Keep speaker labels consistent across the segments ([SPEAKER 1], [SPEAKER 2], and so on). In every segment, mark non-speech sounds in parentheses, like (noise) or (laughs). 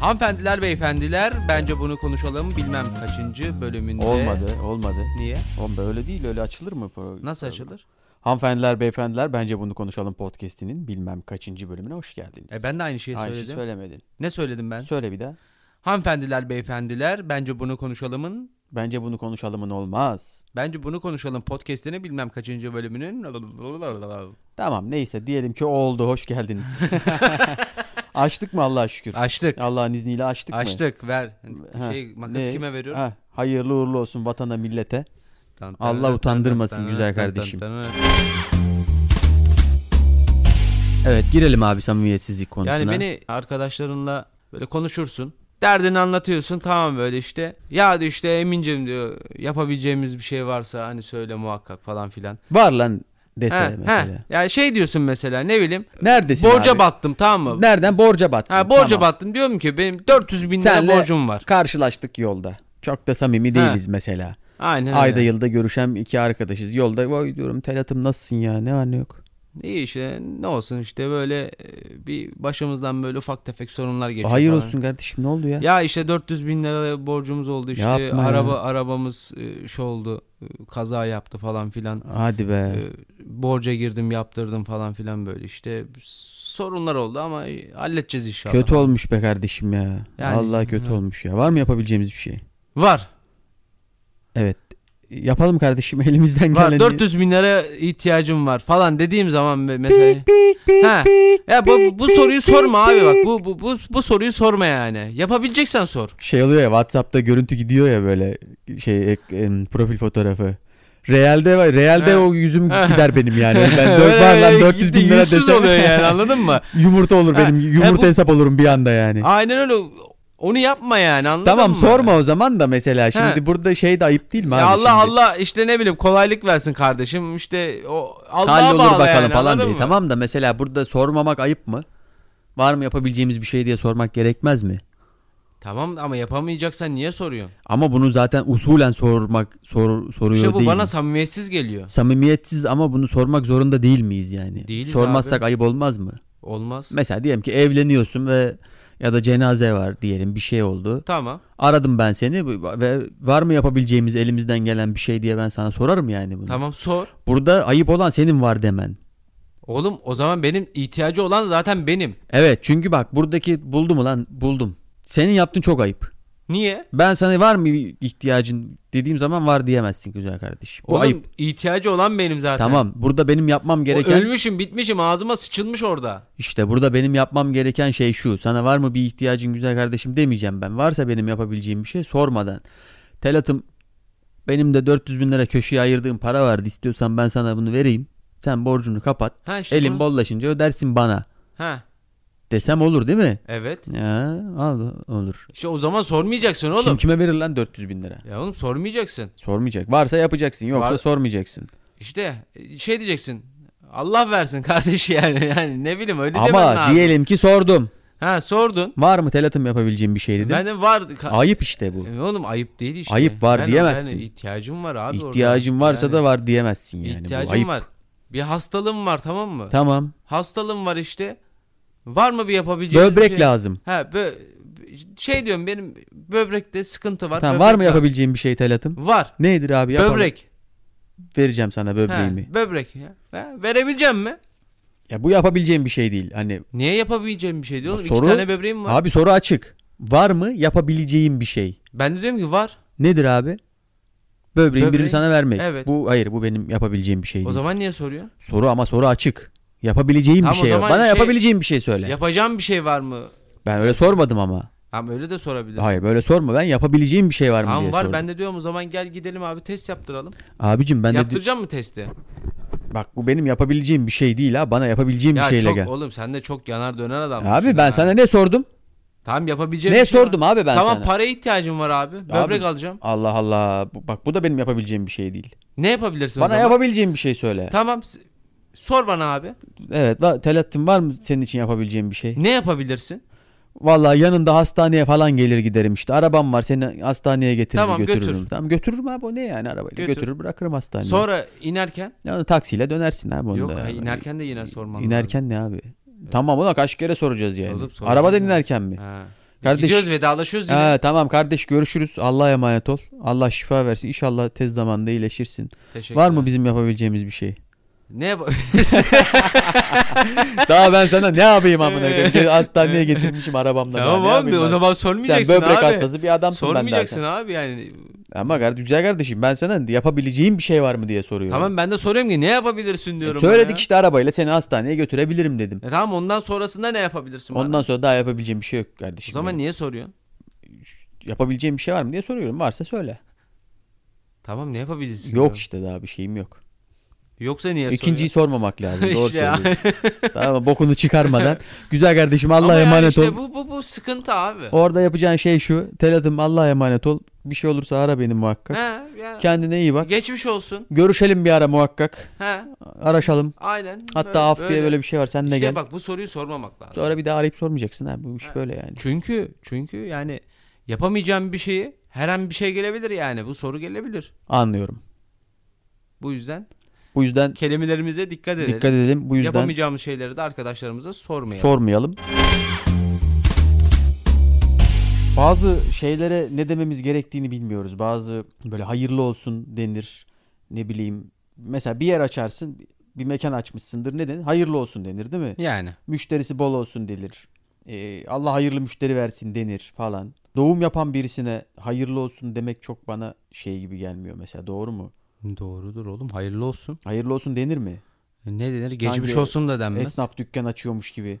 [SPEAKER 1] Hanımefendiler, beyefendiler bence bunu konuşalım bilmem kaçıncı bölümünde.
[SPEAKER 2] Olmadı, olmadı.
[SPEAKER 1] Niye?
[SPEAKER 2] Oğlum be, öyle değil, öyle açılır mı program?
[SPEAKER 1] Nasıl açılır?
[SPEAKER 2] Hanımefendiler, beyefendiler bence bunu konuşalım podcast'inin bilmem kaçıncı bölümüne hoş geldiniz.
[SPEAKER 1] E ben de aynı şeyi
[SPEAKER 2] Aynı şeyi
[SPEAKER 1] söyledim.
[SPEAKER 2] söylemedin.
[SPEAKER 1] Ne söyledim ben?
[SPEAKER 2] Söyle bir daha.
[SPEAKER 1] Hanımefendiler, beyefendiler bence bunu konuşalımın
[SPEAKER 2] Bence bunu konuşalımın olmaz.
[SPEAKER 1] Bence bunu konuşalım podcast'ini bilmem kaçıncı bölümünün.
[SPEAKER 2] Tamam neyse diyelim ki oldu
[SPEAKER 1] (laughs)
[SPEAKER 2] hoş geldiniz. açtık mı Allah'a şükür?
[SPEAKER 1] Açtık.
[SPEAKER 2] Allah'ın izniyle açtık, mı?
[SPEAKER 1] Açtık ver.
[SPEAKER 2] Ha,
[SPEAKER 1] Şey makası
[SPEAKER 2] ne?
[SPEAKER 1] kime veriyorum?
[SPEAKER 2] Ha, hayırlı uğurlu olsun vatana millete.
[SPEAKER 1] Tan- tan-
[SPEAKER 2] Allah
[SPEAKER 1] tan-
[SPEAKER 2] utandırmasın
[SPEAKER 1] tan-
[SPEAKER 2] güzel
[SPEAKER 1] tan-
[SPEAKER 2] kardeşim.
[SPEAKER 1] tan- tan-
[SPEAKER 2] Evet girelim abi samimiyetsizlik konusuna.
[SPEAKER 1] Yani beni arkadaşlarınla böyle konuşursun. Derdini anlatıyorsun tamam böyle işte. Ya diyor işte Emin'cim diyor yapabileceğimiz bir şey varsa hani söyle muhakkak falan filan.
[SPEAKER 2] Var lan dese
[SPEAKER 1] He,
[SPEAKER 2] mesela.
[SPEAKER 1] he. Ya şey diyorsun mesela ne bileyim.
[SPEAKER 2] Neredesin
[SPEAKER 1] borca
[SPEAKER 2] abi?
[SPEAKER 1] battım tamam mı?
[SPEAKER 2] Nereden? Borca battın.
[SPEAKER 1] Ha, borca
[SPEAKER 2] Tamam.
[SPEAKER 1] battım diyorum ki benim 400 bin
[SPEAKER 2] Senle-
[SPEAKER 1] lira borcum var.
[SPEAKER 2] Karşılaştık yolda. Çok da samimi değiliz mesela.
[SPEAKER 1] Aynen öyle.
[SPEAKER 2] Ayda yılda görüşen iki arkadaşız. Yolda vay diyorum Telat'ım nasılsın ya ne var ne yok.
[SPEAKER 1] İyi işte ne olsun işte böyle e, bir başımızdan böyle ufak tefek sorunlar geçiyor
[SPEAKER 2] Hayır
[SPEAKER 1] falan.
[SPEAKER 2] olsun kardeşim ne oldu ya?
[SPEAKER 1] Ya işte 400 bin lira borcumuz oldu işte
[SPEAKER 2] Yapma ya.
[SPEAKER 1] araba arabamız e, şey oldu e, kaza yaptı falan filan.
[SPEAKER 2] Hadi be.
[SPEAKER 1] E, borca girdim yaptırdım falan filan böyle işte sorunlar oldu ama e, halledeceğiz inşallah.
[SPEAKER 2] kötü olmuş be kardeşim ya.
[SPEAKER 1] Yani-
[SPEAKER 2] Allah kötü
[SPEAKER 1] Hı.
[SPEAKER 2] olmuş ya. Var mı yapabileceğimiz bir şey?
[SPEAKER 1] Var
[SPEAKER 2] Evet. Yapalım kardeşim (laughs) elimizden
[SPEAKER 1] var
[SPEAKER 2] geleni.
[SPEAKER 1] 400 bin lira ihtiyacım var falan dediğim zaman be- mesela.
[SPEAKER 2] Pik, pik, pik,
[SPEAKER 1] Ha.
[SPEAKER 2] pik,
[SPEAKER 1] Ya bu,
[SPEAKER 2] pik,
[SPEAKER 1] bu
[SPEAKER 2] pik,
[SPEAKER 1] soruyu
[SPEAKER 2] pik,
[SPEAKER 1] sorma abi bak
[SPEAKER 2] pik.
[SPEAKER 1] bu, bu, bu, bu soruyu sorma yani yapabileceksen sor.
[SPEAKER 2] Şey oluyor ya Whatsapp'ta görüntü gidiyor ya böyle şey ek- em, profil fotoğrafı. Realde var. Realde
[SPEAKER 1] Ha.
[SPEAKER 2] o yüzüm
[SPEAKER 1] Ha.
[SPEAKER 2] gider benim yani. Ee, Hani
[SPEAKER 1] (laughs)
[SPEAKER 2] Ben
[SPEAKER 1] Öyle
[SPEAKER 2] dört, var lan
[SPEAKER 1] öyle
[SPEAKER 2] 400 bin
[SPEAKER 1] gitti,
[SPEAKER 2] lira
[SPEAKER 1] yüzsüz
[SPEAKER 2] desem.
[SPEAKER 1] oluyor yani anladın
[SPEAKER 2] (laughs)
[SPEAKER 1] mı?
[SPEAKER 2] Yumurta olur
[SPEAKER 1] Ha, E,
[SPEAKER 2] benim. Yumurta
[SPEAKER 1] bu-
[SPEAKER 2] hesap olurum bir anda yani.
[SPEAKER 1] Aynen öyle. Onu yapma yani anladın
[SPEAKER 2] tamam
[SPEAKER 1] mı?
[SPEAKER 2] sorma o zaman da mesela şimdi
[SPEAKER 1] Ha.
[SPEAKER 2] burada şey de ayıp değil mi
[SPEAKER 1] Ya
[SPEAKER 2] abi
[SPEAKER 1] Allah
[SPEAKER 2] şimdi?
[SPEAKER 1] Allah işte ne bileyim kolaylık versin kardeşim işte o Allah'a
[SPEAKER 2] Hallolur
[SPEAKER 1] bağlı
[SPEAKER 2] bakalım
[SPEAKER 1] yani,
[SPEAKER 2] falan
[SPEAKER 1] anladın
[SPEAKER 2] diye.
[SPEAKER 1] mı?
[SPEAKER 2] Tamam da mesela burada sormamak ayıp mı? Var mı yapabileceğimiz bir şey diye sormak gerekmez mi?
[SPEAKER 1] Tamam ama yapamayacaksan niye soruyorsun?
[SPEAKER 2] Ama bunu zaten usulen sormak sor, soruyor
[SPEAKER 1] İşte bu
[SPEAKER 2] değil
[SPEAKER 1] bana
[SPEAKER 2] mi?
[SPEAKER 1] samimiyetsiz geliyor.
[SPEAKER 2] Samimiyetsiz ama bunu sormak zorunda değil miyiz yani?
[SPEAKER 1] Değiliz
[SPEAKER 2] Sormazsak ayıp olmaz mı?
[SPEAKER 1] Olmaz.
[SPEAKER 2] Mesela diyelim ki evleniyorsun ve ya da cenaze var diyelim bir şey oldu.
[SPEAKER 1] tamam.
[SPEAKER 2] Aradım ben seni bu- ve var mı yapabileceğimiz elimizden gelen bir şey diye ben sana sorarım yani bunu.
[SPEAKER 1] Tamam sor.
[SPEAKER 2] Burada ayıp olan senin var demen.
[SPEAKER 1] Oğlum o zaman benim ihtiyacı olan zaten benim.
[SPEAKER 2] Evet çünkü bak buradaki buldum ulan buldum. Senin yaptığın çok ayıp.
[SPEAKER 1] Niye?
[SPEAKER 2] Ben sana var mı ihtiyacın dediğim zaman var diyemezsin güzel kardeşim. Bu
[SPEAKER 1] Oğlum
[SPEAKER 2] ayıp.
[SPEAKER 1] ihtiyacı olan benim zaten.
[SPEAKER 2] Tamam burada benim yapmam
[SPEAKER 1] O
[SPEAKER 2] gereken
[SPEAKER 1] ölmüşüm bitmişim ağzıma sıçılmış orada.
[SPEAKER 2] işte burada benim yapmam gereken şey şu. Sana var mı bir ihtiyacın güzel kardeşim demeyeceğim ben. Varsa benim yapabileceğim bir şey sormadan. Telat'ım benim de 400 bin lira köşeye ayırdığım para vardı. İstiyorsan ben sana bunu vereyim. Sen borcunu kapat.
[SPEAKER 1] Ha işte
[SPEAKER 2] Elin
[SPEAKER 1] bunu-
[SPEAKER 2] bollaşınca ödersin bana.
[SPEAKER 1] Ha
[SPEAKER 2] Desem olur değil mi?
[SPEAKER 1] evet.
[SPEAKER 2] Ya al olur.
[SPEAKER 1] İşte o zaman sormayacaksın oğlum.
[SPEAKER 2] Kim kime verir lan 400 bin lira?
[SPEAKER 1] Ya oğlum sormayacaksın.
[SPEAKER 2] Sormayacak. Varsa yapacaksın yoksa
[SPEAKER 1] Var-
[SPEAKER 2] sormayacaksın.
[SPEAKER 1] İşte e, şey diyeceksin. Allah versin (laughs) kardeş yani. Yani ne bileyim öyle demen
[SPEAKER 2] Ama
[SPEAKER 1] lazım.
[SPEAKER 2] diyelim ki sordum.
[SPEAKER 1] Ha sordun.
[SPEAKER 2] Var mı telatım yapabileceğim bir şey dedim.
[SPEAKER 1] Ben de var. ka-
[SPEAKER 2] Ayıp işte bu.
[SPEAKER 1] E, Oğlum ayıp değil işte.
[SPEAKER 2] Ayıp var
[SPEAKER 1] Ben-
[SPEAKER 2] diyemezsin.
[SPEAKER 1] Yani ihtiyacım var abi. orada.
[SPEAKER 2] İhtiyacın varsa
[SPEAKER 1] Yani
[SPEAKER 2] da var diyemezsin yani. bu
[SPEAKER 1] ihtiyacım
[SPEAKER 2] ayıp.
[SPEAKER 1] var. Bir hastalığım var tamam mı?
[SPEAKER 2] Tamam.
[SPEAKER 1] Hastalığım var işte. Var mı bir yapabileceğim
[SPEAKER 2] Böbrek
[SPEAKER 1] şey?
[SPEAKER 2] lazım.
[SPEAKER 1] Ha bö- şey diyorum benim böbrekte sıkıntı var.
[SPEAKER 2] Tamam
[SPEAKER 1] böbrek
[SPEAKER 2] var mı yapabileceğim bir şey telatım?
[SPEAKER 1] Var.
[SPEAKER 2] Nedir abi yapalım.
[SPEAKER 1] Böbrek.
[SPEAKER 2] Vereceğim sana
[SPEAKER 1] Ha,
[SPEAKER 2] böbreğimi.
[SPEAKER 1] böbrek ya. Ha, verebileceğim mi?
[SPEAKER 2] Ya bu yapabileceğim bir şey değil. Hani
[SPEAKER 1] Niye yapabileceğim bir şey diyor oğlum?
[SPEAKER 2] Soru-
[SPEAKER 1] İki tane böbreğim var.
[SPEAKER 2] abi soru açık. Var mı yapabileceğim bir şey?
[SPEAKER 1] Ben de diyorum ki var.
[SPEAKER 2] Nedir abi? Böbreğin birini
[SPEAKER 1] Böbreği-
[SPEAKER 2] sana vermek.
[SPEAKER 1] Evet.
[SPEAKER 2] Bu hayır bu benim yapabileceğim bir şey değil.
[SPEAKER 1] O zaman niye soruyorsun?
[SPEAKER 2] Soru ama soru açık. Yapabileceğim
[SPEAKER 1] Tamam,
[SPEAKER 2] bir
[SPEAKER 1] o
[SPEAKER 2] şey. yok.
[SPEAKER 1] zaman
[SPEAKER 2] Bana
[SPEAKER 1] şey-
[SPEAKER 2] yapabileceğim bir şey söyle.
[SPEAKER 1] Yapacağım bir şey var mı?
[SPEAKER 2] ben öyle sormadım ama.
[SPEAKER 1] Ama öyle de sorabilirsin.
[SPEAKER 2] Hayır böyle sorma. Ben yapabileceğim bir şey var mı
[SPEAKER 1] Tamam
[SPEAKER 2] diye
[SPEAKER 1] var
[SPEAKER 2] sordum.
[SPEAKER 1] ben de diyorum o zaman gel gidelim abi test yaptıralım.
[SPEAKER 2] Abicim ben de di-
[SPEAKER 1] Yaptıracağım mı testi?
[SPEAKER 2] bak bu benim yapabileceğim bir şey değil ha. Bana yapabileceğim bir
[SPEAKER 1] Ya
[SPEAKER 2] şeyle
[SPEAKER 1] çok
[SPEAKER 2] gel.
[SPEAKER 1] oğlum sen de çok yanar döner adam.
[SPEAKER 2] Abi ben sana ne sordum?
[SPEAKER 1] Tamam yapabileceğim
[SPEAKER 2] Ne
[SPEAKER 1] bir şey var.
[SPEAKER 2] sordum abi ben
[SPEAKER 1] tamam
[SPEAKER 2] sana?
[SPEAKER 1] paraya ihtiyacım var abi. Böbrek alacağım.
[SPEAKER 2] Allah Allah. Bu- Bak bu da benim yapabileceğim bir şey değil.
[SPEAKER 1] Ne yapabilirsin o
[SPEAKER 2] Bana
[SPEAKER 1] zaman?
[SPEAKER 2] yapabileceğim bir şey söyle.
[SPEAKER 1] Tamam s- sor bana abi.
[SPEAKER 2] Evet. va- Telattin var mı senin için yapabileceğim bir şey?
[SPEAKER 1] Ne yapabilirsin?
[SPEAKER 2] Vallahi yanında hastaneye falan gelir giderim işte. Arabam var seni hastaneye getirir
[SPEAKER 1] Tamam, götür.
[SPEAKER 2] götürürüm. Tamam götürürüm abi o ne yani arabayla.
[SPEAKER 1] Götür.
[SPEAKER 2] Götürür bırakırım hastaneye.
[SPEAKER 1] Sonra inerken?
[SPEAKER 2] Ya onu taksiyle dönersin abi onu
[SPEAKER 1] Yok
[SPEAKER 2] da.
[SPEAKER 1] ha,
[SPEAKER 2] yani.
[SPEAKER 1] inerken de yine sormam lazım.
[SPEAKER 2] İnerken ne abi? Tamam ulan kaç kere soracağız yani.
[SPEAKER 1] Oğlum, soracağız
[SPEAKER 2] Arabadan
[SPEAKER 1] ya.
[SPEAKER 2] inerken mi?
[SPEAKER 1] Ha.
[SPEAKER 2] Kardeş,
[SPEAKER 1] Gidiyoruz vedalaşıyoruz yine.
[SPEAKER 2] Ha, tamam kardeş görüşürüz. Allah'a emanet ol. Allah şifa versin. İnşallah tez zamanda iyileşirsin.
[SPEAKER 1] Teşekkürler.
[SPEAKER 2] Var mı bizim yapabileceğimiz bir şey?
[SPEAKER 1] Ne yap- (laughs)
[SPEAKER 2] Daha ben sana ne yapayım amına koyayım? Gel Hastaneye getirmişim arabamla. daha
[SPEAKER 1] tamam
[SPEAKER 2] ne
[SPEAKER 1] abi
[SPEAKER 2] yapayım
[SPEAKER 1] o
[SPEAKER 2] ben?
[SPEAKER 1] zaman
[SPEAKER 2] sen
[SPEAKER 1] sormayacaksın
[SPEAKER 2] böbrek
[SPEAKER 1] abi.
[SPEAKER 2] hastası bir adamsın ben
[SPEAKER 1] Sormayacaksın
[SPEAKER 2] dersen.
[SPEAKER 1] abi yani.
[SPEAKER 2] Ama kardeş, güzel kardeşim ben sana yapabileceğim bir şey var mı diye soruyorum.
[SPEAKER 1] Tamam ben de soruyorum ki ne yapabilirsin diyorum.
[SPEAKER 2] E,
[SPEAKER 1] bana
[SPEAKER 2] Söyledik
[SPEAKER 1] ya.
[SPEAKER 2] işte arabayla seni hastaneye götürebilirim dedim.
[SPEAKER 1] E tamam ondan sonrasında ne yapabilirsin bana?
[SPEAKER 2] Ondan sonra daha yapabileceğim bir şey yok kardeşim.
[SPEAKER 1] O zaman
[SPEAKER 2] benim.
[SPEAKER 1] niye soruyorsun?
[SPEAKER 2] yapabileceğim bir şey var mı diye soruyorum. Varsa söyle.
[SPEAKER 1] Tamam ne yapabilirsin?
[SPEAKER 2] Yok
[SPEAKER 1] diyorum.
[SPEAKER 2] işte daha bir şeyim yok.
[SPEAKER 1] Yoksa niye soruyorsun?
[SPEAKER 2] İkinciyi sormamak
[SPEAKER 1] (laughs)
[SPEAKER 2] lazım. Doğru
[SPEAKER 1] İşte ya.
[SPEAKER 2] söylüyorsun. (laughs) tamam bokunu çıkarmadan. Güzel kardeşim
[SPEAKER 1] Ama
[SPEAKER 2] Allah'a
[SPEAKER 1] yani
[SPEAKER 2] emanet
[SPEAKER 1] işte
[SPEAKER 2] ol.
[SPEAKER 1] Bu, bu, bu sıkıntı abi.
[SPEAKER 2] Orada yapacağın şey şu. Telatım Allah'a emanet ol. Bir şey olursa ara beni muhakkak.
[SPEAKER 1] He, ya.
[SPEAKER 2] Kendine iyi bak.
[SPEAKER 1] Geçmiş olsun.
[SPEAKER 2] Görüşelim bir ara muhakkak.
[SPEAKER 1] He,
[SPEAKER 2] Araşalım.
[SPEAKER 1] aynen.
[SPEAKER 2] Hatta haftaya böyle, bir şey var. Sen de
[SPEAKER 1] İşte
[SPEAKER 2] gel.
[SPEAKER 1] bak bu soruyu sormamak lazım.
[SPEAKER 2] Sonra bir daha arayıp sormayacaksın ha. Bu iş
[SPEAKER 1] Ha.
[SPEAKER 2] böyle yani.
[SPEAKER 1] Çünkü çünkü yani yapamayacağım bir şeyi her an bir şey gelebilir yani. Bu soru gelebilir.
[SPEAKER 2] Anlıyorum.
[SPEAKER 1] Bu yüzden
[SPEAKER 2] Bu yüzden
[SPEAKER 1] kelimelerimize dikkat edelim.
[SPEAKER 2] dikkat edelim. Bu yüzden
[SPEAKER 1] Yapamayacağımız şeyleri de arkadaşlarımıza sormayalım.
[SPEAKER 2] sormayalım. Bazı şeylere ne dememiz gerektiğini bilmiyoruz. Bazı böyle hayırlı olsun denir. Ne bileyim. Mesela bir yer açarsın. Bir mekan açmışsındır. Ne denir? Hayırlı olsun denir değil mi?
[SPEAKER 1] yani.
[SPEAKER 2] Müşterisi bol olsun denir. Ee, Allah hayırlı müşteri versin denir falan. Doğum yapan birisine hayırlı olsun demek çok bana şey gibi gelmiyor mesela. Doğru mu?
[SPEAKER 1] Doğrudur oğlum. Hayırlı olsun. E,
[SPEAKER 2] Hayırlı olsun denir mi?
[SPEAKER 1] Ne denir? Geçmiş
[SPEAKER 2] Sanki
[SPEAKER 1] olsun da denmez.
[SPEAKER 2] Esnaf dükkan açıyormuş gibi.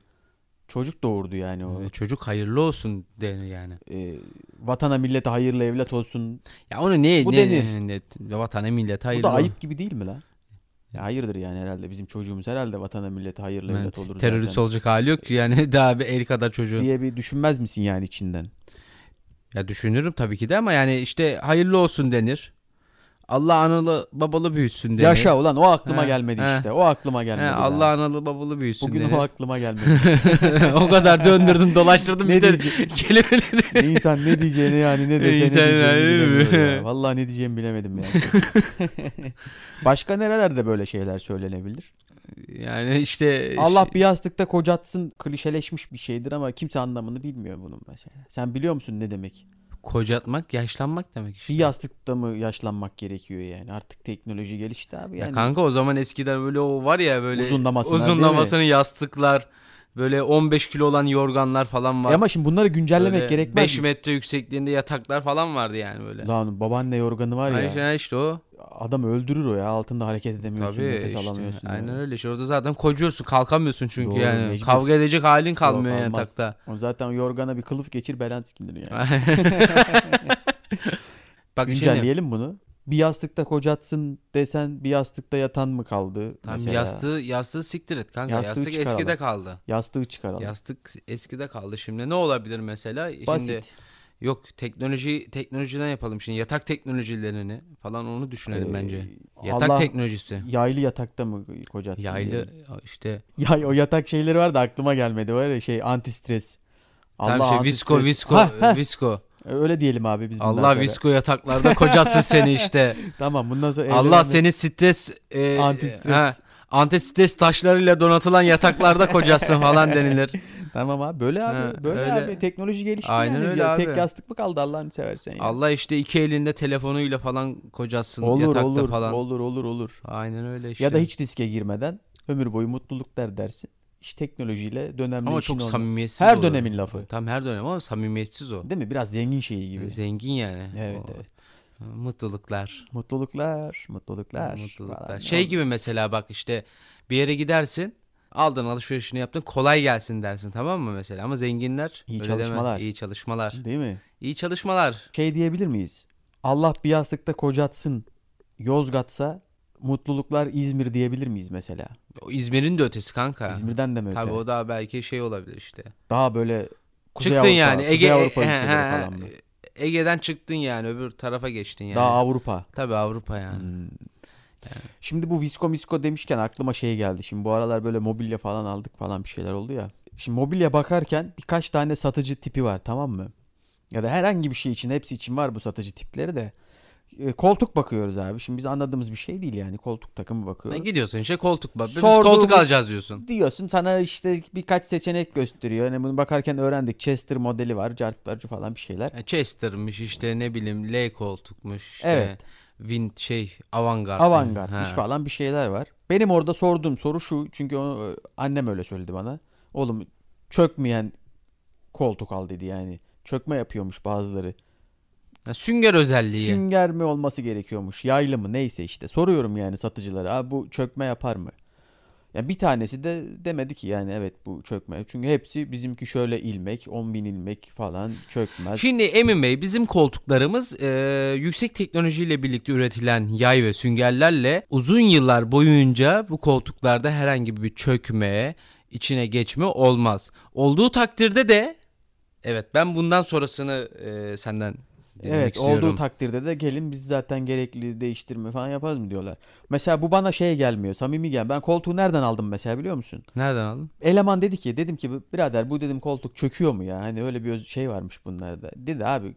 [SPEAKER 2] Çocuk doğurdu yani o.
[SPEAKER 1] Ee, Çocuk hayırlı olsun denir yani.
[SPEAKER 2] Ee, vatana millete hayırlı evlat olsun.
[SPEAKER 1] Ya onu ne
[SPEAKER 2] Bu
[SPEAKER 1] ne,
[SPEAKER 2] denir.
[SPEAKER 1] ne, ne vatana millete hayırlı.
[SPEAKER 2] Bu da
[SPEAKER 1] ol-
[SPEAKER 2] ayıp gibi değil mi lan? Ya hayırdır yani herhalde bizim çocuğumuz herhalde vatana millete hayırlı
[SPEAKER 1] Yani
[SPEAKER 2] evlat olur
[SPEAKER 1] terörist
[SPEAKER 2] zaten
[SPEAKER 1] olacak hali yok ki yani (laughs) daha bir el kadar çocuğu.
[SPEAKER 2] diye bir düşünmez misin yani içinden?
[SPEAKER 1] Ya düşünürüm tabii ki de ama yani işte hayırlı olsun denir. Allah analı babalı büyütsün denir.
[SPEAKER 2] Yaşa ulan o aklıma
[SPEAKER 1] He,
[SPEAKER 2] gelmedi
[SPEAKER 1] he.
[SPEAKER 2] işte. O aklıma
[SPEAKER 1] He,
[SPEAKER 2] gelmedi. daha.
[SPEAKER 1] Allah analı babalı büyütsün
[SPEAKER 2] Bugün
[SPEAKER 1] denir. (laughs)
[SPEAKER 2] o
[SPEAKER 1] O,
[SPEAKER 2] aklıma gelmedi.
[SPEAKER 1] kadar döndürdün dolaştırdın
[SPEAKER 2] (laughs) Ne
[SPEAKER 1] bir de
[SPEAKER 2] diyeceğim?
[SPEAKER 1] kelimeleri.
[SPEAKER 2] Ne insan ne diyeceğini yani ne dese ne
[SPEAKER 1] İnsan yani-
[SPEAKER 2] diyeceğini bilemiyor ya. Vallahi ne diyeceğimi
[SPEAKER 1] (laughs)
[SPEAKER 2] bilemedim ya. Başka nerelerde böyle şeyler
[SPEAKER 1] E,
[SPEAKER 2] söylenebilir?
[SPEAKER 1] Yani işte
[SPEAKER 2] Allah bir yastıkta kocatsın klişeleşmiş bir şeydir ama kimse anlamını bilmiyor bunun mesela. Sen biliyor musun ne demek?
[SPEAKER 1] kocatmak yaşlanmak demek işte.
[SPEAKER 2] Bir yastıkta mı yaşlanmak gerekiyor yani? Artık teknoloji gelişti abi
[SPEAKER 1] Ya
[SPEAKER 2] yani.
[SPEAKER 1] kanka o zaman eskiden böyle o var ya böyle
[SPEAKER 2] Uzunlamasına, değil mi?
[SPEAKER 1] uzunlamasını yastıklar böyle 15 kilo olan yorganlar falan var.
[SPEAKER 2] E ama şimdi bunları güncellemek gerekmez.
[SPEAKER 1] 5 metre yüksekliğinde yataklar falan vardı yani böyle.
[SPEAKER 2] Lan babaanne yorganı var ya.
[SPEAKER 1] Aynen işte, o.
[SPEAKER 2] Adam öldürür o ya. Altında hareket edemiyorsun,
[SPEAKER 1] Tabii
[SPEAKER 2] nefes
[SPEAKER 1] işte.
[SPEAKER 2] alamıyorsun.
[SPEAKER 1] Aynen
[SPEAKER 2] yani.
[SPEAKER 1] öyle. İşte orada zaten kocuyorsun. Kalkamıyorsun çünkü
[SPEAKER 2] Doğru,
[SPEAKER 1] yani.
[SPEAKER 2] mecbur.
[SPEAKER 1] Kavga edecek halin kalmıyor
[SPEAKER 2] Yok,
[SPEAKER 1] yani
[SPEAKER 2] olmaz. (laughs)
[SPEAKER 1] yatakta. (laughs)
[SPEAKER 2] O zaten o yorgana bir kılıf geçir belan sikilir yani.
[SPEAKER 1] Bak şimdi
[SPEAKER 2] Güncelleyelim bunu. Bir yastıkta kocatsın desen bir yastıkta yatan mı kaldı?
[SPEAKER 1] tam
[SPEAKER 2] mesela?
[SPEAKER 1] yastığı yastığı siktir et kanka.
[SPEAKER 2] Yastığı
[SPEAKER 1] Yastık
[SPEAKER 2] çıkaralım.
[SPEAKER 1] eskide kaldı.
[SPEAKER 2] Yastığı çıkaralım.
[SPEAKER 1] Yastık eskide kaldı. Şimdi ne olabilir mesela?
[SPEAKER 2] Basit.
[SPEAKER 1] Şimdi yok teknoloji teknolojiden yapalım şimdi yatak teknolojilerini falan onu düşünelim
[SPEAKER 2] Ee,
[SPEAKER 1] bence. Yatak
[SPEAKER 2] Allah
[SPEAKER 1] teknolojisi.
[SPEAKER 2] Yaylı yatakta mı kocatsın?
[SPEAKER 1] Yaylı
[SPEAKER 2] diyelim? (laughs)
[SPEAKER 1] işte
[SPEAKER 2] Yay, o yatak şeyleri var da aklıma gelmedi. Var ya şey anti stres.
[SPEAKER 1] tam şey visko
[SPEAKER 2] antistres-
[SPEAKER 1] visko
[SPEAKER 2] Ha, ha.
[SPEAKER 1] visko.
[SPEAKER 2] Öyle diyelim abi biz bundan
[SPEAKER 1] Allah
[SPEAKER 2] sonra.
[SPEAKER 1] visko yataklarda kocatsın seni
[SPEAKER 2] (laughs)
[SPEAKER 1] işte.
[SPEAKER 2] Tamam bundan sonra
[SPEAKER 1] Allah
[SPEAKER 2] evlenelim.
[SPEAKER 1] seni stres e,
[SPEAKER 2] Antistres.
[SPEAKER 1] he, antistres taşlarıyla donatılan yataklarda kocatsın falan denilir.
[SPEAKER 2] (laughs) Tamam abi böyle abi.
[SPEAKER 1] Ha,
[SPEAKER 2] böyle
[SPEAKER 1] öyle.
[SPEAKER 2] abi teknoloji gelişti
[SPEAKER 1] Aynen
[SPEAKER 2] yani.
[SPEAKER 1] öyle
[SPEAKER 2] Ya,
[SPEAKER 1] abi.
[SPEAKER 2] Tek yastık mı kaldı Allah'ını seversen ya.
[SPEAKER 1] Allah işte iki elinde telefonuyla falan kocatsın
[SPEAKER 2] olur
[SPEAKER 1] yatakta
[SPEAKER 2] olur
[SPEAKER 1] falan.
[SPEAKER 2] olur olur olur.
[SPEAKER 1] Aynen öyle işte.
[SPEAKER 2] Ya da hiç riske girmeden ömür boyu mutluluk der dersin. İş teknolojiyle dönemli
[SPEAKER 1] ama
[SPEAKER 2] işin
[SPEAKER 1] çok
[SPEAKER 2] olmaz.
[SPEAKER 1] samimiyetsiz
[SPEAKER 2] Her
[SPEAKER 1] olur.
[SPEAKER 2] dönemin lafı.
[SPEAKER 1] Tam her dönem ama samimiyetsiz o.
[SPEAKER 2] Değil mi? Biraz zengin şeyi gibi.
[SPEAKER 1] Zengin yani.
[SPEAKER 2] Evet,
[SPEAKER 1] O-
[SPEAKER 2] evet.
[SPEAKER 1] Mutluluklar.
[SPEAKER 2] Mutluluklar, mutluluklar. falan.
[SPEAKER 1] Mutluluklar. Şey gibi mesela bak işte bir yere gidersin. Aldın alışverişini yaptın kolay gelsin dersin tamam mı mesela ama zenginler
[SPEAKER 2] İyi
[SPEAKER 1] öyle
[SPEAKER 2] çalışmalar.
[SPEAKER 1] Deme. iyi çalışmalar
[SPEAKER 2] Değil mi?
[SPEAKER 1] iyi çalışmalar
[SPEAKER 2] Şey diyebilir miyiz? Allah bir yastıkta kocatsın. Yozgatsa mutluluklar İzmir diyebilir miyiz mesela?
[SPEAKER 1] O İzmir'in de ötesi kanka
[SPEAKER 2] İzmir'den de mi öte?
[SPEAKER 1] Ah. tabii o daha belki şey olabilir işte
[SPEAKER 2] Daha böyle Kuzey
[SPEAKER 1] çıktın
[SPEAKER 2] Avrupa,
[SPEAKER 1] yani
[SPEAKER 2] Kuzey
[SPEAKER 1] Ege
[SPEAKER 2] Avrupa
[SPEAKER 1] he,
[SPEAKER 2] ülkeleri
[SPEAKER 1] he,
[SPEAKER 2] falan mı?
[SPEAKER 1] Ege'den çıktın yani öbür tarafa geçtin yani
[SPEAKER 2] Daha Avrupa.
[SPEAKER 1] tabii Avrupa yani
[SPEAKER 2] Hmm. Şimdi bu visko misko demişken aklıma şey geldi. Şimdi bu aralar böyle mobilya falan aldık falan bir şeyler oldu ya. Şimdi mobilya bakarken birkaç tane satıcı tipi var tamam mı? Ya da herhangi bir şey için hepsi için var bu satıcı tipleri de. E, koltuk bakıyoruz abi. Şimdi biz anladığımız bir şey değil yani. Koltuk takımı
[SPEAKER 1] Ne
[SPEAKER 2] bakıyoruz.
[SPEAKER 1] E, gidiyorsun işte koltuk bak. Biz
[SPEAKER 2] Hmm. Sorduğumuz-
[SPEAKER 1] koltuk alacağız diyorsun.
[SPEAKER 2] Diyorsun sana işte birkaç seçenek gösteriyor. Yani bunu bakarken öğrendik. Chester modeli var. Cartlarcı falan bir şeyler.
[SPEAKER 1] E, Chester'mış işte ne bileyim L koltukmuş işte.
[SPEAKER 2] Evet.
[SPEAKER 1] Wind şey avantgard.
[SPEAKER 2] Avantgardmış
[SPEAKER 1] Ha.
[SPEAKER 2] falan bir şeyler var. Benim orada sorduğum soru şu. Çünkü onu, e, annem öyle söyledi bana. Oğlum çökmeyen koltuk al dedi yani. Çökme yapıyormuş bazıları.
[SPEAKER 1] Ha, sünger özelliği.
[SPEAKER 2] Sünger mi olması gerekiyormuş? Yaylı mı? Neyse işte. Soruyorum yani satıcılara. Abi bu çökme yapar mı? Ya bir tanesi de demedi ki yani evet bu çökme. Çünkü hepsi bizimki şöyle ilmek, 10 bin ilmek falan çökmez.
[SPEAKER 1] Şimdi Emin Bey bizim koltuklarımız e, yüksek teknolojiyle birlikte üretilen yay ve süngerlerle uzun yıllar boyunca bu koltuklarda herhangi bir çökme, içine geçme olmaz. Olduğu takdirde de evet ben bundan sonrasını e, senden dinlemek
[SPEAKER 2] Evet
[SPEAKER 1] istiyorum.
[SPEAKER 2] olduğu takdirde de gelin biz zaten gerekli değiştirme falan yaparız mı diyorlar. Mesela bu bana şey gelmiyor samimi gel. Ben koltuğu nereden aldım mesela biliyor musun?
[SPEAKER 1] Nereden
[SPEAKER 2] (laughs)
[SPEAKER 1] aldın?
[SPEAKER 2] Eleman dedi ki dedim ki birader bu dedim koltuk çöküyor mu ya? Hani öyle bir öz- şey varmış bunlarda. Dedi abi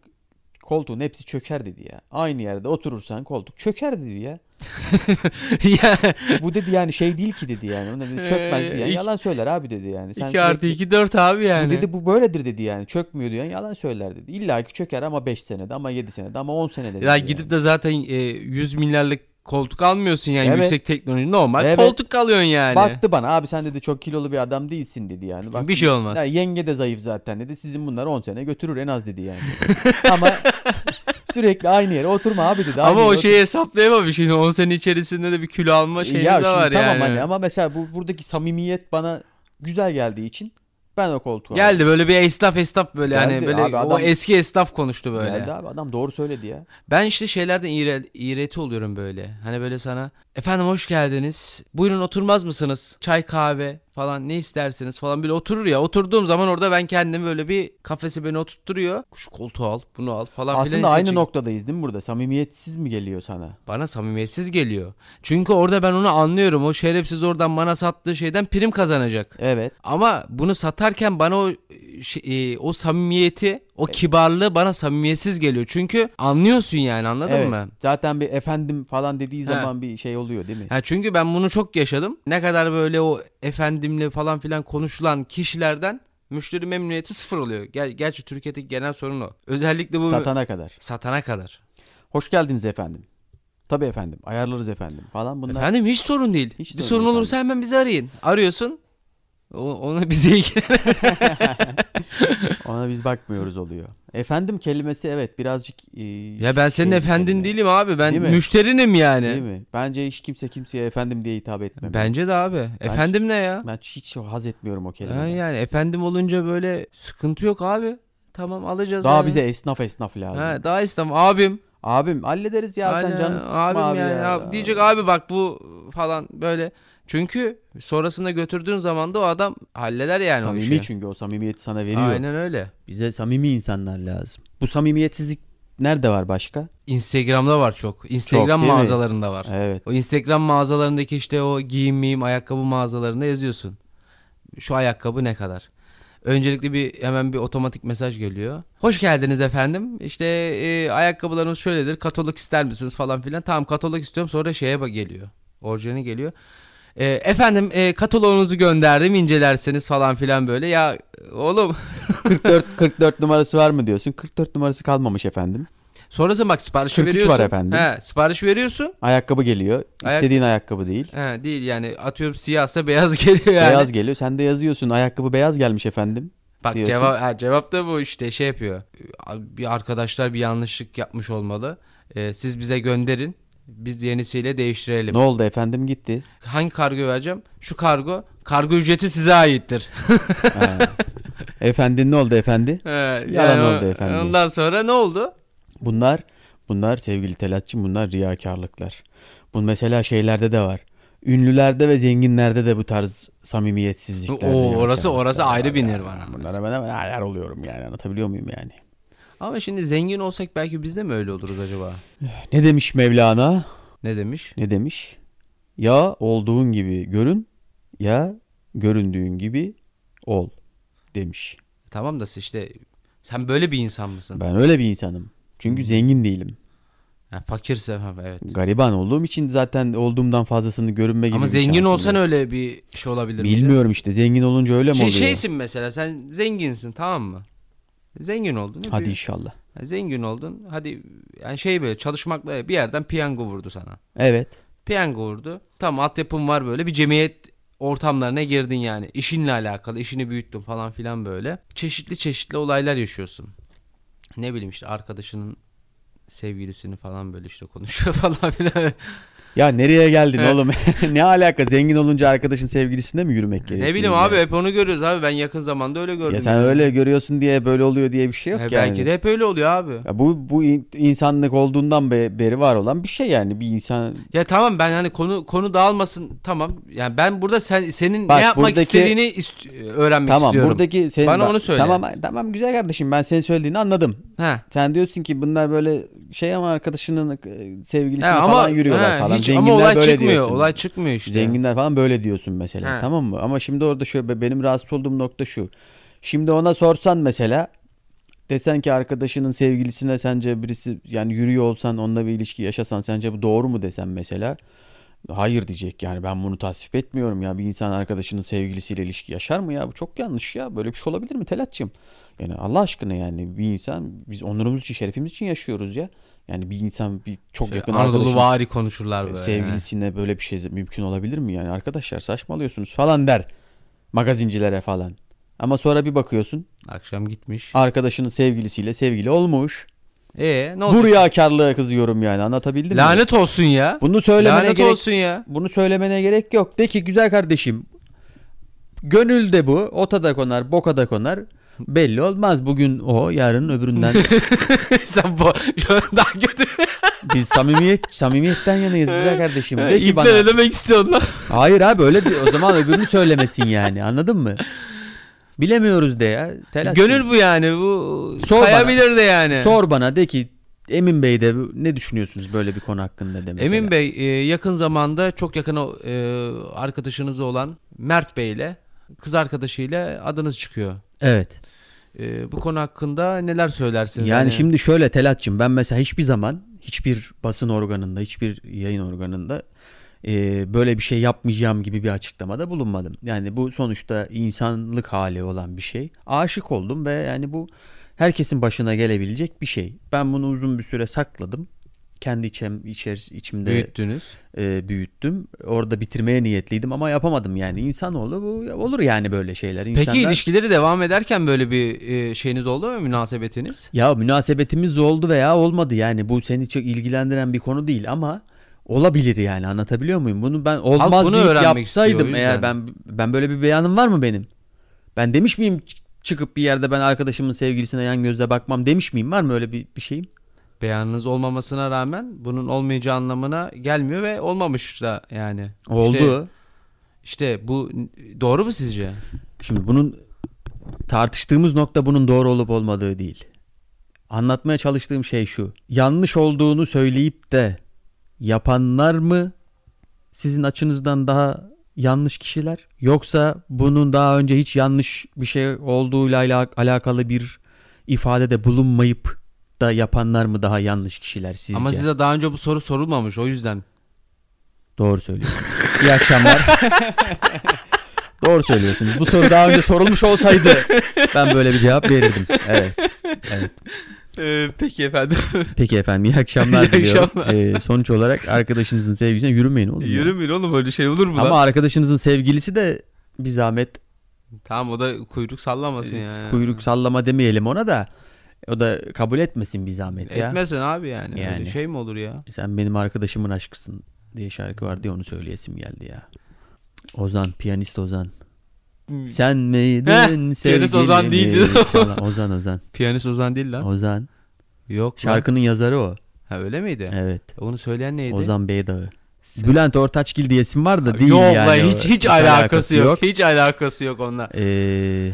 [SPEAKER 2] koltuğun hepsi çöker dedi ya. Aynı yerde oturursan koltuk çöker dedi ya.
[SPEAKER 1] Ya,
[SPEAKER 2] Bu dedi yani şey değil ki dedi yani. Ona dedi, çökmez diyen
[SPEAKER 1] Ee,
[SPEAKER 2] yalan söyler abi dedi yani.
[SPEAKER 1] iki artı
[SPEAKER 2] sürekli-
[SPEAKER 1] 2 4 abi
[SPEAKER 2] Bu
[SPEAKER 1] yani.
[SPEAKER 2] dedi bu böyledir dedi yani. Çökmüyor diyen yalan söyler dedi. İlla ki çöker ama 5 senede ama 7 senede ama 10 senede. dedi
[SPEAKER 1] ya
[SPEAKER 2] yani.
[SPEAKER 1] gidip de zaten e, 100 milyarlık koltuk almıyorsun yani
[SPEAKER 2] Evet.
[SPEAKER 1] yüksek teknoloji normal
[SPEAKER 2] Evet.
[SPEAKER 1] koltuk alıyorsun yani.
[SPEAKER 2] Baktı bana abi sen dedi çok kilolu bir adam değilsin dedi yani. Bak,
[SPEAKER 1] bir şey olmaz.
[SPEAKER 2] ya yenge de zayıf zaten dedi. Sizin bunlar 10 sene götürür en az
[SPEAKER 1] (laughs)
[SPEAKER 2] dedi yani. Ama sürekli aynı yere oturma abi dedi. aynı
[SPEAKER 1] Ama o şey-
[SPEAKER 2] yere
[SPEAKER 1] şeyi hesaplayamamış. Şimdi 10 sene içerisinde de bir kilo alma
[SPEAKER 2] otur-
[SPEAKER 1] şeyimiz
[SPEAKER 2] Ya
[SPEAKER 1] şey de
[SPEAKER 2] şimdi
[SPEAKER 1] var
[SPEAKER 2] tamam
[SPEAKER 1] yani.
[SPEAKER 2] hani ama mesela bu buradaki samimiyet bana güzel geldiği için ben o koltuğu aldım.
[SPEAKER 1] Geldi böyle bir esnaf esnaf böyle
[SPEAKER 2] Geldi
[SPEAKER 1] hani böyle
[SPEAKER 2] abi, adam-
[SPEAKER 1] o eski esnaf konuştu böyle.
[SPEAKER 2] Geldi abi adam doğru söyledi ya.
[SPEAKER 1] Ben işte şeylerden iğre, iğreti oluyorum böyle. Hani böyle sana efendim hoş geldiniz. Buyurun oturmaz mısınız? Çay kahve falan ne isterseniz falan böyle oturur ya. Oturduğum zaman orada ben kendimi böyle bir kafesi beni oturtturuyor. Şu koltuğu al bunu al falan filan.
[SPEAKER 2] Aslında aynı
[SPEAKER 1] hissedecek.
[SPEAKER 2] noktadayız değil mi burada? Samimiyetsiz mi geliyor sana?
[SPEAKER 1] Bana samimiyetsiz geliyor. Çünkü orada ben onu anlıyorum. O şerefsiz oradan bana sattığı şeyden prim kazanacak.
[SPEAKER 2] Evet.
[SPEAKER 1] Ama bunu satarken bana o şey- e, o samimiyeti, o kibarlığı bana samimiyetsiz geliyor. Çünkü anlıyorsun yani anladın
[SPEAKER 2] evet.
[SPEAKER 1] mı?
[SPEAKER 2] Zaten bir efendim falan dediği
[SPEAKER 1] He.
[SPEAKER 2] zaman bir şey oluyor değil mi?
[SPEAKER 1] Ha çünkü ben bunu çok yaşadım. Ne kadar böyle o efendimle falan filan konuşulan kişilerden müşteri memnuniyeti sıfır oluyor. Ger- gerçi Türkiye'deki genel sorun o. Özellikle bu
[SPEAKER 2] Satana kadar.
[SPEAKER 1] satana kadar.
[SPEAKER 2] Hoş geldiniz efendim. Tabii efendim. Ayarlarız efendim falan bunlar.
[SPEAKER 1] Efendim hiç sorun değil.
[SPEAKER 2] Hiç
[SPEAKER 1] bir
[SPEAKER 2] sorun
[SPEAKER 1] sorun
[SPEAKER 2] değil
[SPEAKER 1] olursa hemen bizi arayın. Arıyorsun. O, ona (laughs) bize ilgilen.
[SPEAKER 2] Ona biz bakmıyoruz oluyor. Efendim kelimesi evet birazcık e,
[SPEAKER 1] ya ben senin
[SPEAKER 2] şey bir
[SPEAKER 1] efendin
[SPEAKER 2] kelime.
[SPEAKER 1] değilim abi. Ben
[SPEAKER 2] Değil mi?
[SPEAKER 1] müşterinim yani.
[SPEAKER 2] Değil mi? Bence hiç kimse kimseye efendim diye hitap etmemeli.
[SPEAKER 1] Bence de abi. Efendim ne ya?
[SPEAKER 2] Ben hiç haz etmiyorum o
[SPEAKER 1] Ha,
[SPEAKER 2] kelimeyi.
[SPEAKER 1] yani efendim olunca böyle sıkıntı yok abi. Tamam alacağız.
[SPEAKER 2] Daha
[SPEAKER 1] yani.
[SPEAKER 2] bize esnaf esnaf lazım.
[SPEAKER 1] Ha, daha istem abim.
[SPEAKER 2] Abim hallederiz ya sen
[SPEAKER 1] Aynen,
[SPEAKER 2] canını sıkma
[SPEAKER 1] abim
[SPEAKER 2] abi
[SPEAKER 1] yani
[SPEAKER 2] ya.
[SPEAKER 1] abi diyecek abi bak bu falan böyle. Çünkü sonrasında götürdüğün zaman da o adam halleder yani
[SPEAKER 2] samimi
[SPEAKER 1] o işi.
[SPEAKER 2] çünkü o samimiyeti sana veriyor.
[SPEAKER 1] Aynen öyle.
[SPEAKER 2] Bize samimi insanlar lazım. Bu samimiyetsizlik nerede var başka?
[SPEAKER 1] Instagram'da var çok. Instagram
[SPEAKER 2] değil mi?
[SPEAKER 1] mağazalarında var.
[SPEAKER 2] Evet.
[SPEAKER 1] O Instagram mağazalarındaki işte o giyim miyim ayakkabı mağazalarında yazıyorsun. Şu ayakkabı ne kadar? Öncelikle bir hemen bir otomatik mesaj geliyor. Hoş geldiniz efendim. İşte e, ayakkabılarımız şöyledir. Katalog ister misiniz falan filan. Tamam katalog istiyorum. Sonra şeye bak geliyor. Orijinali geliyor. E, efendim e, kataloğunuzu gönderdim incelerseniz falan filan böyle. Ya
[SPEAKER 2] (laughs)
[SPEAKER 1] oğlum
[SPEAKER 2] 44 (laughs) 44 numarası var mı diyorsun? 44 numarası kalmamış efendim.
[SPEAKER 1] sonrasında bak sipariş
[SPEAKER 2] 43 var
[SPEAKER 1] veriyorsun.
[SPEAKER 2] efendim.
[SPEAKER 1] He, sipariş veriyorsun.
[SPEAKER 2] Ayakkabı geliyor.
[SPEAKER 1] Ayak-
[SPEAKER 2] İstediğin ayakkabı değil.
[SPEAKER 1] He, değil yani atıyorum siyahsa beyaz geliyor yani.
[SPEAKER 2] Beyaz geliyor. Sen de yazıyorsun. Ayakkabı beyaz gelmiş efendim.
[SPEAKER 1] Bak
[SPEAKER 2] diyorsun.
[SPEAKER 1] cevap ha, cevap da bu işte şey yapıyor. Bir arkadaşlar bir yanlışlık yapmış olmalı. Ee, siz bize gönderin. Biz yenisiyle değiştirelim.
[SPEAKER 2] Ne oldu efendim gitti.
[SPEAKER 1] Hangi kargo vereceğim? Şu kargo. Kargo ücreti size
[SPEAKER 2] (laughs)
[SPEAKER 1] aittir.
[SPEAKER 2] Ha. efendi ne oldu efendi?
[SPEAKER 1] Ee,
[SPEAKER 2] Yalan
[SPEAKER 1] o-
[SPEAKER 2] oldu efendim.
[SPEAKER 1] Ondan sonra ne oldu?
[SPEAKER 2] Bunlar bunlar sevgili Telatçım bunlar riyakarlıklar. Bu mesela şeylerde de var. Ünlülerde ve zenginlerde de bu tarz samimiyetsizlikler.
[SPEAKER 1] Oo, orası
[SPEAKER 2] riyakarlıklar
[SPEAKER 1] orası ayrı
[SPEAKER 2] var
[SPEAKER 1] bir
[SPEAKER 2] yani.
[SPEAKER 1] nirvana.
[SPEAKER 2] Bunlara ben hemen ayar oluyorum yani anlatabiliyor muyum yani?
[SPEAKER 1] Ama şimdi zengin olsak belki biz de mi öyle oluruz acaba?
[SPEAKER 2] Ne demiş Mevlana?
[SPEAKER 1] Ne demiş?
[SPEAKER 2] Ne demiş? Ya olduğun gibi görün ya göründüğün gibi ol demiş.
[SPEAKER 1] Tamam da işte sen böyle bir insan mısın?
[SPEAKER 2] Ben öyle bir insanım. Çünkü zengin değilim.
[SPEAKER 1] Ha, fakirse ha, evet.
[SPEAKER 2] Gariban olduğum için zaten olduğumdan fazlasını görünme gibi
[SPEAKER 1] Ama
[SPEAKER 2] bir
[SPEAKER 1] zengin
[SPEAKER 2] şansım
[SPEAKER 1] olsan
[SPEAKER 2] yok.
[SPEAKER 1] öyle bir şey olabilir mi?
[SPEAKER 2] Bilmiyorum işte zengin olunca öyle mi
[SPEAKER 1] Şey,
[SPEAKER 2] oluyor?
[SPEAKER 1] şeysin mesela sen zenginsin tamam mı? Zengin oldun.
[SPEAKER 2] Hadi
[SPEAKER 1] Bir-
[SPEAKER 2] inşallah.
[SPEAKER 1] Zengin oldun. Hadi yani şey böyle çalışmakla bir yerden piyango vurdu sana.
[SPEAKER 2] Evet.
[SPEAKER 1] Piyango vurdu. Tamam altyapın var böyle bir cemiyet ortamlarına girdin yani. İşinle alakalı işini büyüttün falan filan böyle. Çeşitli çeşitli olaylar yaşıyorsun. Ne bileyim işte arkadaşının sevgilisini falan böyle işte konuşuyor (laughs) falan filan.
[SPEAKER 2] Ya nereye geldin
[SPEAKER 1] Evet.
[SPEAKER 2] oğlum? (laughs) ne alaka zengin olunca arkadaşın sevgilisinde mi yürümek gerekiyor?
[SPEAKER 1] ne bileyim
[SPEAKER 2] ya?
[SPEAKER 1] abi hep onu görüyoruz abi. Ben yakın zamanda öyle gördüm.
[SPEAKER 2] Ya sen öyle görüyorsun diye böyle oluyor diye bir şey yok
[SPEAKER 1] E,
[SPEAKER 2] yani.
[SPEAKER 1] Belki de hep öyle oluyor abi.
[SPEAKER 2] Ya bu bu in- insanlık olduğundan be- beri var olan bir şey yani bir insan
[SPEAKER 1] Ya tamam ben hani konu konu dağılmasın tamam. Yani ben burada sen senin
[SPEAKER 2] Bak,
[SPEAKER 1] ne yapmak
[SPEAKER 2] buradaki-
[SPEAKER 1] istediğini ist- öğrenmek
[SPEAKER 2] tamam
[SPEAKER 1] istiyorum.
[SPEAKER 2] buradaki senin
[SPEAKER 1] Bana
[SPEAKER 2] bak-
[SPEAKER 1] onu söyle.
[SPEAKER 2] Tamam tamam güzel kardeşim ben senin söylediğini anladım.
[SPEAKER 1] Ha.
[SPEAKER 2] Sen diyorsun ki bunlar böyle şey ama arkadaşının e, sevgilisine
[SPEAKER 1] Ha,
[SPEAKER 2] falan yürüyorlar
[SPEAKER 1] ha,
[SPEAKER 2] falan.
[SPEAKER 1] hiç-
[SPEAKER 2] Zenginler
[SPEAKER 1] ama olay
[SPEAKER 2] böyle
[SPEAKER 1] çıkmıyor.
[SPEAKER 2] diyorsun.
[SPEAKER 1] Olay çıkmıyor işte.
[SPEAKER 2] Zenginler falan böyle diyorsun mesela
[SPEAKER 1] He.
[SPEAKER 2] tamam mı? Ama şimdi orada şu be- benim rahatsız olduğum nokta şu. Şimdi ona sorsan mesela desen ki arkadaşının sevgilisine sence birisi yani yürüyor olsan onunla bir ilişki yaşasan sence bu doğru mu desen mesela. Hayır diyecek yani ben bunu tasvip etmiyorum ya bir insan arkadaşının sevgilisiyle ilişki yaşar mı ya bu çok yanlış ya böyle bir şey olabilir mi Telatçım? Yani Allah aşkına yani bir insan biz onurumuz için şerefimiz için yaşıyoruz ya. Yani bir insan bir çok
[SPEAKER 1] Şey,
[SPEAKER 2] yakın
[SPEAKER 1] Anadolu
[SPEAKER 2] arkadaşın
[SPEAKER 1] vari konuşurlar böyle.
[SPEAKER 2] sevgilisine böyle bir şey mümkün olabilir mi yani arkadaşlar saçmalıyorsunuz falan der magazincilere falan. Ama sonra bir bakıyorsun
[SPEAKER 1] Ha. Akşam gitmiş.
[SPEAKER 2] arkadaşının sevgilisiyle sevgili olmuş.
[SPEAKER 1] Ee ne oldu?
[SPEAKER 2] Bu riyakarlığa kızıyorum yani anlatabildim mi?
[SPEAKER 1] Lanet olsun ya.
[SPEAKER 2] Bunu söylemene
[SPEAKER 1] Lanet
[SPEAKER 2] gerek
[SPEAKER 1] olsun ya. (laughs)
[SPEAKER 2] bunu söylemene gerek yok. De ki güzel kardeşim. Gönülde bu. Ota da konar, boka da konar. Belli olmaz. Bugün o,
[SPEAKER 1] (laughs)
[SPEAKER 2] yarın öbüründen.
[SPEAKER 1] Sen bu (laughs) daha kötü.
[SPEAKER 2] Biz samimiyet samimiyetten yanayız güzel kardeşim. De ki
[SPEAKER 1] İpler
[SPEAKER 2] bana.
[SPEAKER 1] ne demek istiyorsun lan?
[SPEAKER 2] Hayır abi öyle de- o zaman öbürünü söylemesin yani anladın mı? Bilemiyoruz de ya. Telaşsın.
[SPEAKER 1] Gönül bu yani. Bu
[SPEAKER 2] Sor bana.
[SPEAKER 1] kayabilir de yani.
[SPEAKER 2] Sor bana de ki Emin Bey de bu- ne düşünüyorsunuz böyle bir konu hakkında de mesela.
[SPEAKER 1] Emin Bey e, yakın zamanda çok yakın o- e, arkadaşınız olan Mert Bey ile kız arkadaşıyla adınız çıkıyor.
[SPEAKER 2] Evet.
[SPEAKER 1] E, bu konu hakkında neler söylersiniz?
[SPEAKER 2] Yani
[SPEAKER 1] Hani-
[SPEAKER 2] şimdi şöyle Telatçım ben mesela hiçbir zaman hiçbir basın organında hiçbir yayın organında e, böyle bir şey yapmayacağım gibi bir açıklamada bulunmadım. Yani bu sonuçta insanlık hali olan bir şey. Aşık oldum ve yani bu herkesin başına gelebilecek bir şey. Ben bunu uzun bir süre sakladım. Kendi içem, içer, içimde
[SPEAKER 1] büyüttünüz.
[SPEAKER 2] e, büyüttüm. Orada bitirmeye niyetliydim ama yapamadım yani. İnsanoğlu bu olur yani böyle şeyler.
[SPEAKER 1] Peki
[SPEAKER 2] İnsanlar-
[SPEAKER 1] ilişkileri devam ederken böyle bir e, şeyiniz oldu mu münasebetiniz?
[SPEAKER 2] Ya münasebetimiz oldu veya olmadı yani bu seni çok ilgilendiren bir konu değil ama olabilir yani anlatabiliyor muyum? Bunu ben olmaz
[SPEAKER 1] bunu
[SPEAKER 2] deyip
[SPEAKER 1] öğrenmek istiyor,
[SPEAKER 2] yapsaydım
[SPEAKER 1] o
[SPEAKER 2] eğer
[SPEAKER 1] yüzden.
[SPEAKER 2] ben ben böyle bir beyanım var mı benim? Ben demiş miyim ç- çıkıp bir yerde ben arkadaşımın sevgilisine yan gözle bakmam demiş miyim? Var mı öyle bir, bir şeyim?
[SPEAKER 1] Beyanınız olmamasına rağmen bunun olmayacağı anlamına gelmiyor ve olmamış da yani.
[SPEAKER 2] Oldu.
[SPEAKER 1] İşte, işte bu doğru mu sizce?
[SPEAKER 2] Şimdi bunun tartıştığımız nokta bunun doğru olup olmadığı değil. Anlatmaya çalıştığım şey şu. Yanlış olduğunu söyleyip de yapanlar mı sizin açınızdan daha yanlış kişiler yoksa bunun daha önce hiç yanlış bir şey olduğuyla ala- alakalı bir ifadede bulunmayıp da yapanlar mı daha yanlış kişiler sizce?
[SPEAKER 1] Ama size daha önce bu soru sorulmamış o yüzden.
[SPEAKER 2] Doğru söylüyorsunuz.
[SPEAKER 1] (laughs)
[SPEAKER 2] İyi akşamlar. Doğru söylüyorsunuz. Bu soru daha önce sorulmuş olsaydı ben böyle bir cevap verirdim. Evet.
[SPEAKER 1] Ee, peki
[SPEAKER 2] (laughs)
[SPEAKER 1] efendim.
[SPEAKER 2] Peki efendim iyi akşamlar
[SPEAKER 1] İyi
[SPEAKER 2] diliyorum.
[SPEAKER 1] akşamlar.
[SPEAKER 2] Ee, sonuç olarak arkadaşınızın sevgilisine yürümeyin oğlum. ya.
[SPEAKER 1] Yürümeyin oğlum öyle şey olur mu
[SPEAKER 2] Ama arkadaşınızın sevgilisi de bir zahmet e,
[SPEAKER 1] Tamam o da kuyruk sallamasın yani.
[SPEAKER 2] kuyruk sallama demeyelim ona da o da kabul etmesin bir zahmet ya.
[SPEAKER 1] Etmesin abi yani.
[SPEAKER 2] Yani.
[SPEAKER 1] Öyle şey mi olur ya?
[SPEAKER 2] Sen benim arkadaşımın aşkısın diye şarkı vardı ya onu söyleyesim geldi ya. Ozan, piyanist Ozan. Sen miydin
[SPEAKER 1] Heh, piyanist Ozan
[SPEAKER 2] sevgilimi (laughs)
[SPEAKER 1] değildi. (laughs)
[SPEAKER 2] çalan- Ozan Ozan.
[SPEAKER 1] Piyanist Ozan değil lan.
[SPEAKER 2] Ozan.
[SPEAKER 1] Yok Şarkı...
[SPEAKER 2] Şarkının yazarı o.
[SPEAKER 1] Ha öyle miydi?
[SPEAKER 2] Evet.
[SPEAKER 1] Onu söyleyen neydi?
[SPEAKER 2] Ozan Beydağı.
[SPEAKER 1] Sen-
[SPEAKER 2] Bülent Ortaçgil diyesim var da değil
[SPEAKER 1] yok
[SPEAKER 2] yani.
[SPEAKER 1] lan
[SPEAKER 2] o.
[SPEAKER 1] hiç hiç alakası, yok. Hiç alakası yok onunla.
[SPEAKER 2] Ee,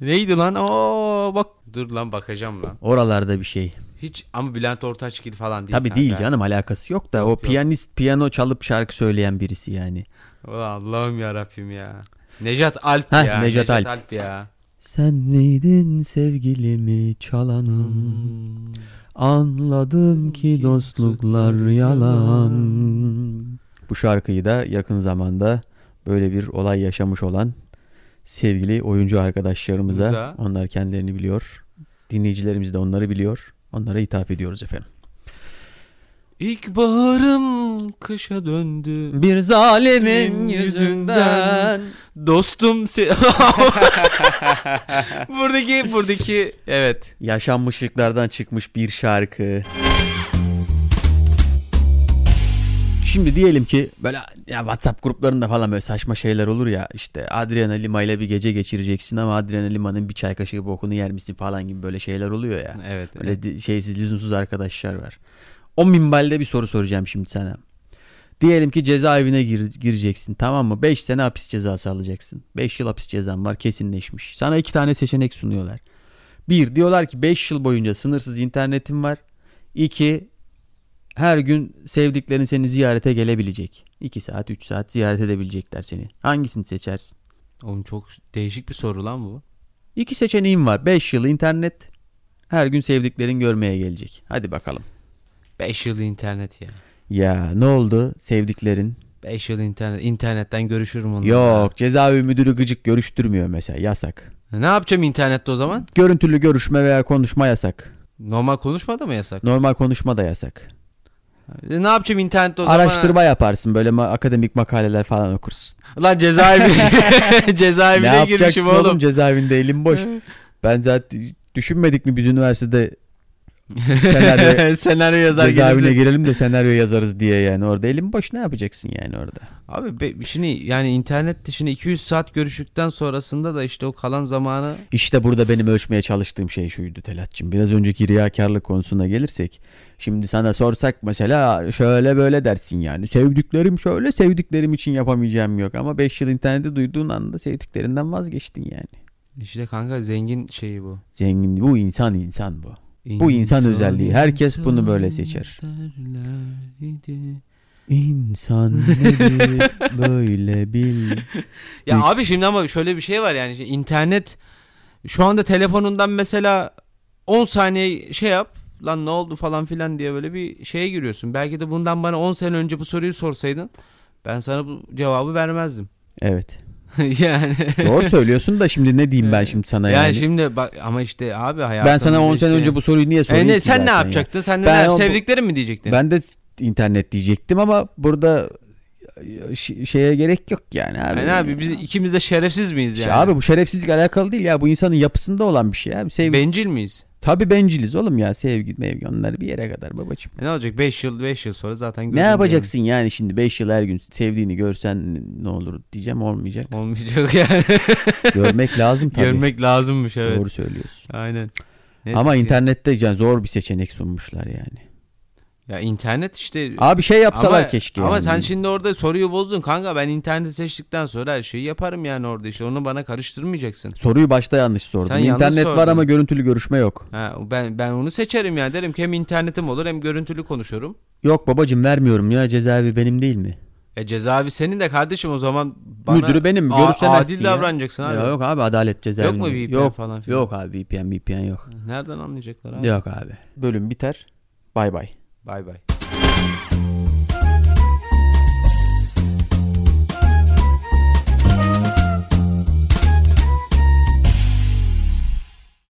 [SPEAKER 1] Neydi lan? Oo bak dur lan bakacağım lan.
[SPEAKER 2] oralarda bir şey.
[SPEAKER 1] Hiç ama Bülent Ortaçgil falan değil.
[SPEAKER 2] Tabii
[SPEAKER 1] kanka.
[SPEAKER 2] değil canım alakası yok da o
[SPEAKER 1] Yok, yok.
[SPEAKER 2] piyanist piyano çalıp şarkı söyleyen birisi yani.
[SPEAKER 1] Ulan Allah'ım ya Rabbim ya. Necat Alp
[SPEAKER 2] Heh,
[SPEAKER 1] ya.
[SPEAKER 2] Nejat
[SPEAKER 1] Nejat
[SPEAKER 2] Alp.
[SPEAKER 1] Alp. ya.
[SPEAKER 2] Sen miydin sevgilimi çalanım? Anladım ki dostluklar yalan. Bu şarkıyı da yakın zamanda böyle bir olay yaşamış olan sevgili oyuncu arkadaşlarımıza,
[SPEAKER 1] Bize.
[SPEAKER 2] onlar kendilerini biliyor. Dinleyicilerimiz de onları biliyor. Onlara ithaf ediyoruz efendim.
[SPEAKER 1] İlk baharım kışa döndü.
[SPEAKER 2] Bir
[SPEAKER 1] Benim
[SPEAKER 2] zalimin
[SPEAKER 1] yüzünden.
[SPEAKER 2] yüzünden.
[SPEAKER 1] Dostum
[SPEAKER 2] (laughs)
[SPEAKER 1] se- buradaki buradaki evet.
[SPEAKER 2] Yaşanmışlıklardan çıkmış bir şarkı. Şimdi diyelim ki böyle ya WhatsApp gruplarında falan böyle saçma şeyler olur ya işte Adriana Lima ile bir gece geçireceksin ama Adriana Lima'nın bir çay kaşığı bokunu yer misin falan gibi böyle şeyler oluyor ya.
[SPEAKER 1] Evet. evet.
[SPEAKER 2] Öyle di- şeysiz lüzumsuz arkadaşlar var. O minvalde bir soru soracağım şimdi sana. Diyelim ki cezaevine gir- gireceksin tamam mı? 5 sene hapis cezası alacaksın. 5 yıl hapis cezan var kesinleşmiş. Sana iki tane seçenek sunuyorlar. Bir diyorlar ki 5 yıl boyunca sınırsız internetin var. İki her gün sevdiklerin seni ziyarete gelebilecek. 2 saat 3 saat ziyaret edebilecekler seni. Hangisini seçersin?
[SPEAKER 1] Oğlum çok değişik bir soru lan bu.
[SPEAKER 2] İki seçeneğim var. 5 yıl internet her gün sevdiklerin görmeye gelecek. Hadi bakalım.
[SPEAKER 1] 5 yıl internet ya.
[SPEAKER 2] Ya ne oldu sevdiklerin?
[SPEAKER 1] 5 yıl internet. İnternetten görüşürüm onunla.
[SPEAKER 2] Yok cezaevi müdürü gıcık görüştürmüyor mesela yasak.
[SPEAKER 1] E, Ne yapacağım internette o zaman?
[SPEAKER 2] Görüntülü görüşme veya konuşma yasak.
[SPEAKER 1] Normal konuşma da mı yasak?
[SPEAKER 2] Normal konuşma da yasak.
[SPEAKER 1] E, Ne yapacağım internette o
[SPEAKER 2] Araştırma yaparsın böyle ma- akademik makaleler falan okursun.
[SPEAKER 1] zaman? Lan
[SPEAKER 2] (laughs)
[SPEAKER 1] cezaevi. (laughs)
[SPEAKER 2] ne
[SPEAKER 1] Cezaevine
[SPEAKER 2] yapacaksın
[SPEAKER 1] girmişim
[SPEAKER 2] oğlum?
[SPEAKER 1] oğlum.
[SPEAKER 2] cezaevinde elin boş. ben zaten düşünmedik mi biz üniversitede senaryo,
[SPEAKER 1] Senaryo (laughs) yazar
[SPEAKER 2] cezaevine
[SPEAKER 1] gelirse.
[SPEAKER 2] girelim de senaryo yazarız diye yani orada elin boş ne yapacaksın yani orada?
[SPEAKER 1] Abi be- şimdi yani internette şimdi 200 saat görüştükten sonrasında da işte o kalan zamanı
[SPEAKER 2] İşte burada benim ölçmeye çalıştığım şey şuydu Telat'cığım. Biraz önceki riyakarlık konusuna gelirsek. Şimdi sana sorsak mesela şöyle böyle dersin yani. Sevdiklerim şöyle sevdiklerim için yapamayacağım yok. Ama 5 yıl internette duyduğun anda sevdiklerinden vazgeçtin yani.
[SPEAKER 1] işte kanka zengin şeyi bu.
[SPEAKER 2] Zengin bu insan insan bu. Bu insan özelliği. Herkes bunu böyle seçer.
[SPEAKER 1] derler idi.
[SPEAKER 2] İnsan (laughs) nedir böyle bil.
[SPEAKER 1] Ya
[SPEAKER 2] Büyük-
[SPEAKER 1] abi şimdi ama şöyle bir şey var yani Şimdi internet şu anda telefonundan mesela 10 saniye şey yap lan ne oldu falan filan diye böyle bir şeye giriyorsun. Belki de bundan bana 10 sene önce bu soruyu sorsaydın ben sana bu cevabı vermezdim. (laughs)
[SPEAKER 2] Evet.
[SPEAKER 1] yani
[SPEAKER 2] Doğru söylüyorsun da şimdi ne diyeyim ben şimdi sana
[SPEAKER 1] yani,
[SPEAKER 2] yani.
[SPEAKER 1] şimdi bak ama işte abi hayatım
[SPEAKER 2] ben sana 10 sene önce bu soruyu niye
[SPEAKER 1] e
[SPEAKER 2] sorayım
[SPEAKER 1] ne,
[SPEAKER 2] ki
[SPEAKER 1] sen ne
[SPEAKER 2] zaten ya?
[SPEAKER 1] yapacaktın? Sen
[SPEAKER 2] Ben
[SPEAKER 1] ne
[SPEAKER 2] o-
[SPEAKER 1] sevdiklerin mi diyecektin?
[SPEAKER 2] Ben de internet diyecektim ama burada ş- şeye gerek yok yani abi.
[SPEAKER 1] yani abi biz ikimiz de şerefsiz miyiz
[SPEAKER 2] Şey
[SPEAKER 1] yani?
[SPEAKER 2] Abi bu şerefsizlik alakalı değil ya bu insanın yapısında olan bir şey abi. Sevgi...
[SPEAKER 1] Bencil miyiz?
[SPEAKER 2] Tabii benciliz oğlum ya sevgi mevgi onlar bir yere kadar babacığım.
[SPEAKER 1] E ne olacak 5 yıl 5 yıl sonra zaten
[SPEAKER 2] ne
[SPEAKER 1] gözümüz
[SPEAKER 2] yapacaksın yani şimdi 5 yıl her gün sevdiğini görsen ne olur diyeceğim olmayacak.
[SPEAKER 1] yani. Olmayacak yani. (laughs)
[SPEAKER 2] Görmek (laughs) lazım tabii.
[SPEAKER 1] Görmek lazımmış evet.
[SPEAKER 2] Doğru söylüyorsun.
[SPEAKER 1] Aynen.
[SPEAKER 2] ama
[SPEAKER 1] Neyse ki-
[SPEAKER 2] internette yani zor bir seçenek sunmuşlar yani.
[SPEAKER 1] Ya internet işte.
[SPEAKER 2] Abi şey yapsalar
[SPEAKER 1] ama,
[SPEAKER 2] keşke.
[SPEAKER 1] Ama
[SPEAKER 2] yani.
[SPEAKER 1] sen şey- şimdi orada soruyu bozdun kanka ben interneti seçtikten sonra her şeyi yaparım yani orada işte onu bana karıştırmayacaksın.
[SPEAKER 2] Soruyu başta yanlış sordun.
[SPEAKER 1] Sen yanlış
[SPEAKER 2] internet var
[SPEAKER 1] sordun.
[SPEAKER 2] ama görüntülü görüşme yok.
[SPEAKER 1] Ha, ben ben onu seçerim yani derim ki hem internetim olur hem görüntülü konuşurum.
[SPEAKER 2] Yok babacım vermiyorum ya cezaevi benim değil mi?
[SPEAKER 1] E cezaevi senin de kardeşim o zaman bana
[SPEAKER 2] Müdürü benim,
[SPEAKER 1] a-
[SPEAKER 2] görüşemezsin
[SPEAKER 1] adil
[SPEAKER 2] ya.
[SPEAKER 1] davranacaksın abi.
[SPEAKER 2] Ya yok abi adalet cezaevinde.
[SPEAKER 1] Yok mu VPN
[SPEAKER 2] Yok,
[SPEAKER 1] falan filan?
[SPEAKER 2] yok abi VPN VPN yok.
[SPEAKER 1] Nereden anlayacaklar abi?
[SPEAKER 2] Yok abi. Bölüm biter. Bay bay.
[SPEAKER 1] Bay bay.